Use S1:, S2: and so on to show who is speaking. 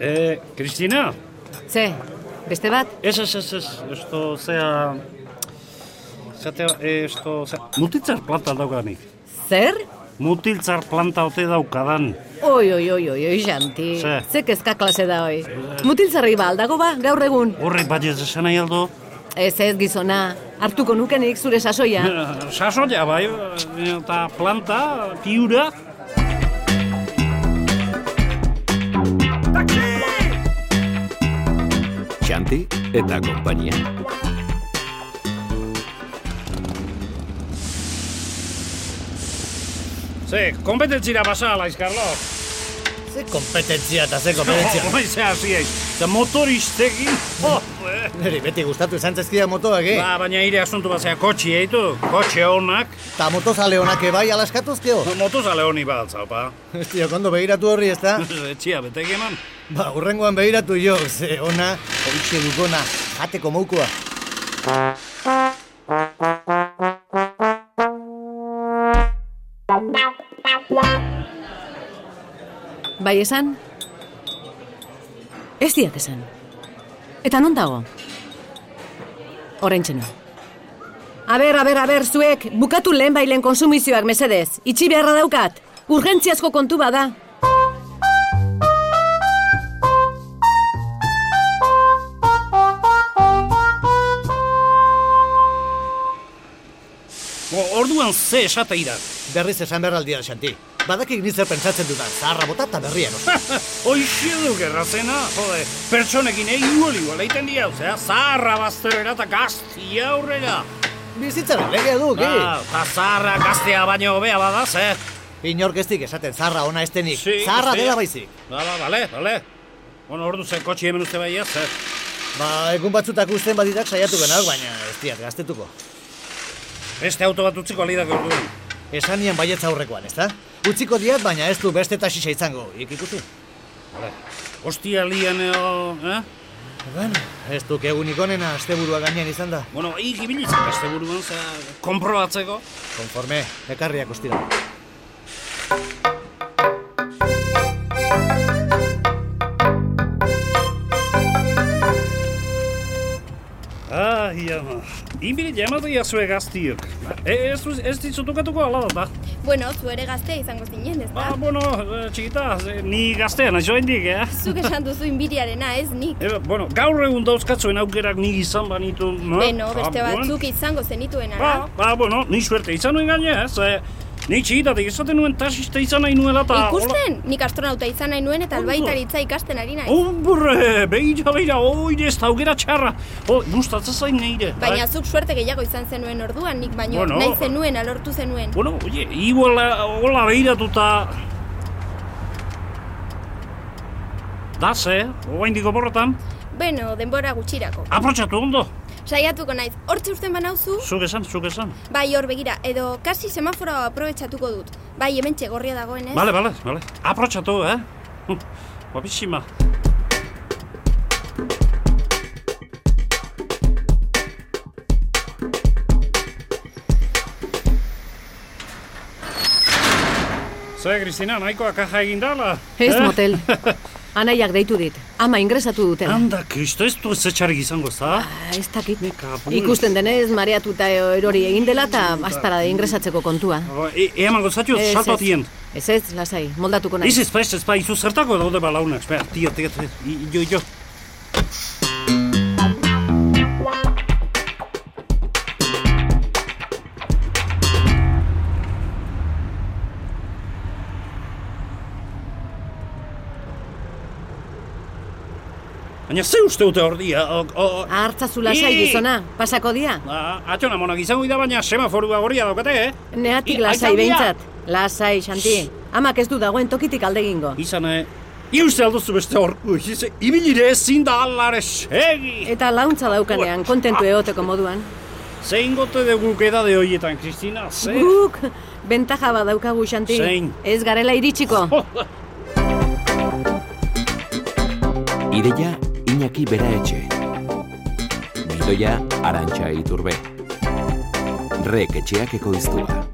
S1: E, Kristina?
S2: Ze, beste bat?
S1: Ez, ez, ez, ez, esto, zea... Zatea, esto, zea... Mutiltzar planta daukanik.
S2: Zer?
S1: Mutiltzar planta ote daukadan.
S2: Oi, oi, oi, oi, oi, janti.
S1: Ze?
S2: Ze kezka klase da, oi. Mutiltzarri ba, aldago ba, gaur egun.
S1: Horrek bat ez esan nahi aldo.
S2: Ez ez gizona, hartuko nukenik zure sasoia.
S1: Eh, Sasoia, bai, eta planta, piura,
S3: Xanti eta konpainia.
S1: Ze, kompetentzira basa, Laiz Carlos.
S4: Ze kompetentzia eta ze kompetentzia.
S1: Hoi, ze hasiek. Ze motoristekin. Oh, eh.
S4: Neri beti gustatu izan zaizkia motoak, eh?
S1: Ba, baina ire asuntu bat zea kotxi eitu. Kotxe honak.
S4: Ta motozale honak ebai alaskatuzkio.
S1: Motozale honi bat, zaupa.
S4: Ez tio, kondo begiratu horri ez da?
S1: Etxia, betek eman.
S4: Ba, urrengoan begiratu jo, ze ona, horitxe dukona, jateko moukoa.
S2: Bai esan? Ez diat esan. Eta non dago? Horentxe no. Aber, aber, aber, zuek, bukatu lehen bailen konsumizioak mesedez. Itxi beharra daukat. Urgentziazko kontu bada.
S1: Bo, orduan ze esate irak.
S4: Berriz esan berraldia, Xanti. Badakik ni zer pentsatzen dudan, zaharra bota eta berrian. oso.
S1: Hoixe du gerrazena, jode. Pertsonekin egin goli leiten diau, zea. Zaharra bazterera eta gaztia aurrera.
S4: Bizitzaren legea duk,
S1: Ba,
S4: eh?
S1: eta zaharra gaztea baino hobea bada, ze.
S4: Inork ez dik esaten zaharra ona estenik,
S1: Sí,
S4: Eh, zaharra
S1: gaztea.
S4: dela baizik.
S1: Ba, ba, bale, bale. Bueno, ordu ze kotxi hemen uste bai ez, ze.
S4: Ba, egun batzutak uzten badidak saiatu gana, baina ez diat gaztetuko.
S1: Beste auto bat utziko alidak orduan.
S4: Esan nian baietza aurrekoan, ez da? Utziko diat, baina ez du beste tasisa izango, ikikusi.
S1: Bale. Ostia lian, eo, eh?
S4: Bueno, ez duk egunik onena asteburua gainean izan da.
S1: Bueno, hik ibilitzen beste buruan, ze, komprobatzeko.
S4: Konforme, ekarriak ustira.
S1: Ai, ama. Inbili jamatia zue gaztiok. E, ez, duz- ez dizutukatuko ala ba. da.
S5: Bueno, zu ere gaztea izango zinen, ez da?
S1: Ba, bueno, eh, txikita, ze, ni gaztea nazo hendik, eh?
S5: Zuk esan duzu inbiriarena, ez nik.
S1: E, bueno, gaur egun dauzkatzuen aukerak nik izan banitu, no?
S5: Beno, beste
S1: Ba, bueno.
S5: batzuk izango zenituen
S1: Ba,
S5: ara.
S1: ba, bueno, ni suerte izan nuen gaine, ez? Eh, ni txikitatik izaten nuen taxista izan nahi nuela eta...
S5: Ikusten, nik astronauta izan nahi nuen eta
S1: Ondo.
S5: albaitaritza ikasten ari
S1: Uh,
S5: naiz.
S1: Hombre, begira, begira, oi, ez da aukera txarra. O, gustatza zain nire. Bai.
S5: Baina zuk suerte gehiago izan zenuen orduan, nik baino
S1: ba, eh. Bueno.
S5: nahi zenuen alortu zenuen.
S1: Bueno, oye, iguala, hola behiratuta... Da ze, oaindiko borrotan,
S5: Beno, denbora gutxirako.
S1: aprotxatu ondo.
S5: Saiatuko naiz, hortxe usten banauzu,
S1: Zuk esan, zuk esan.
S5: bai hor begira, edo kasi semaforoa aprobetsatuko dut. Bai, hemen txegorria dagoen, ez?
S1: Bale, bale, bale. Aprotxatu, eh? Hm, Guapissima. Ze, Kristina, nahikoa kaja egin dala.
S2: Ez motel. Anaiak deitu dit. Ama ingresatu dutela.
S1: Anda, kristo, ez du ez etxarik izango, za?
S2: Eh. Ah, ez dakit.
S1: Me kapu.
S2: Ikusten denez, mareatuta erori egin dela eta astara da ingresatzeko kontua.
S1: Ba, E, eman gozatio,
S2: Ez,
S1: salto
S2: ez.
S1: atien.
S2: Ez ez, lasai, moldatuko nahi.
S1: Ez ez, ez, ez, ba, izu zertako daude balaunak. Espera, tio, tio, tio, i- jo, jo. Baina ze uste dute hor dia? O, o,
S2: Artzazu lasai
S1: Ii!
S2: gizona, pasako dia.
S1: Ba, Atxon amonak izango dira, baina semaforua gorria daukate, eh?
S2: Neatik
S1: I-
S2: lasai
S1: aitzaldia!
S2: behintzat. Lasai, Xanti. Amak ez du dagoen tokitik aldegingo.
S1: Izan, eh, iuste alduzu beste horku, ize, ibilire ezin da alare segi!
S2: Eta launtza daukanean, kontentu egoteko moduan.
S1: Zein gote dugu edade horietan, Kristina, ze?
S2: Guk, bentaja bat daukagu, Xanti.
S1: Zein?
S2: Ez garela iritsiko.
S3: Ideia Iñaki Bera Etxe. Bidoia Arantxa Iturbe. Rek etxeak ekoiztua.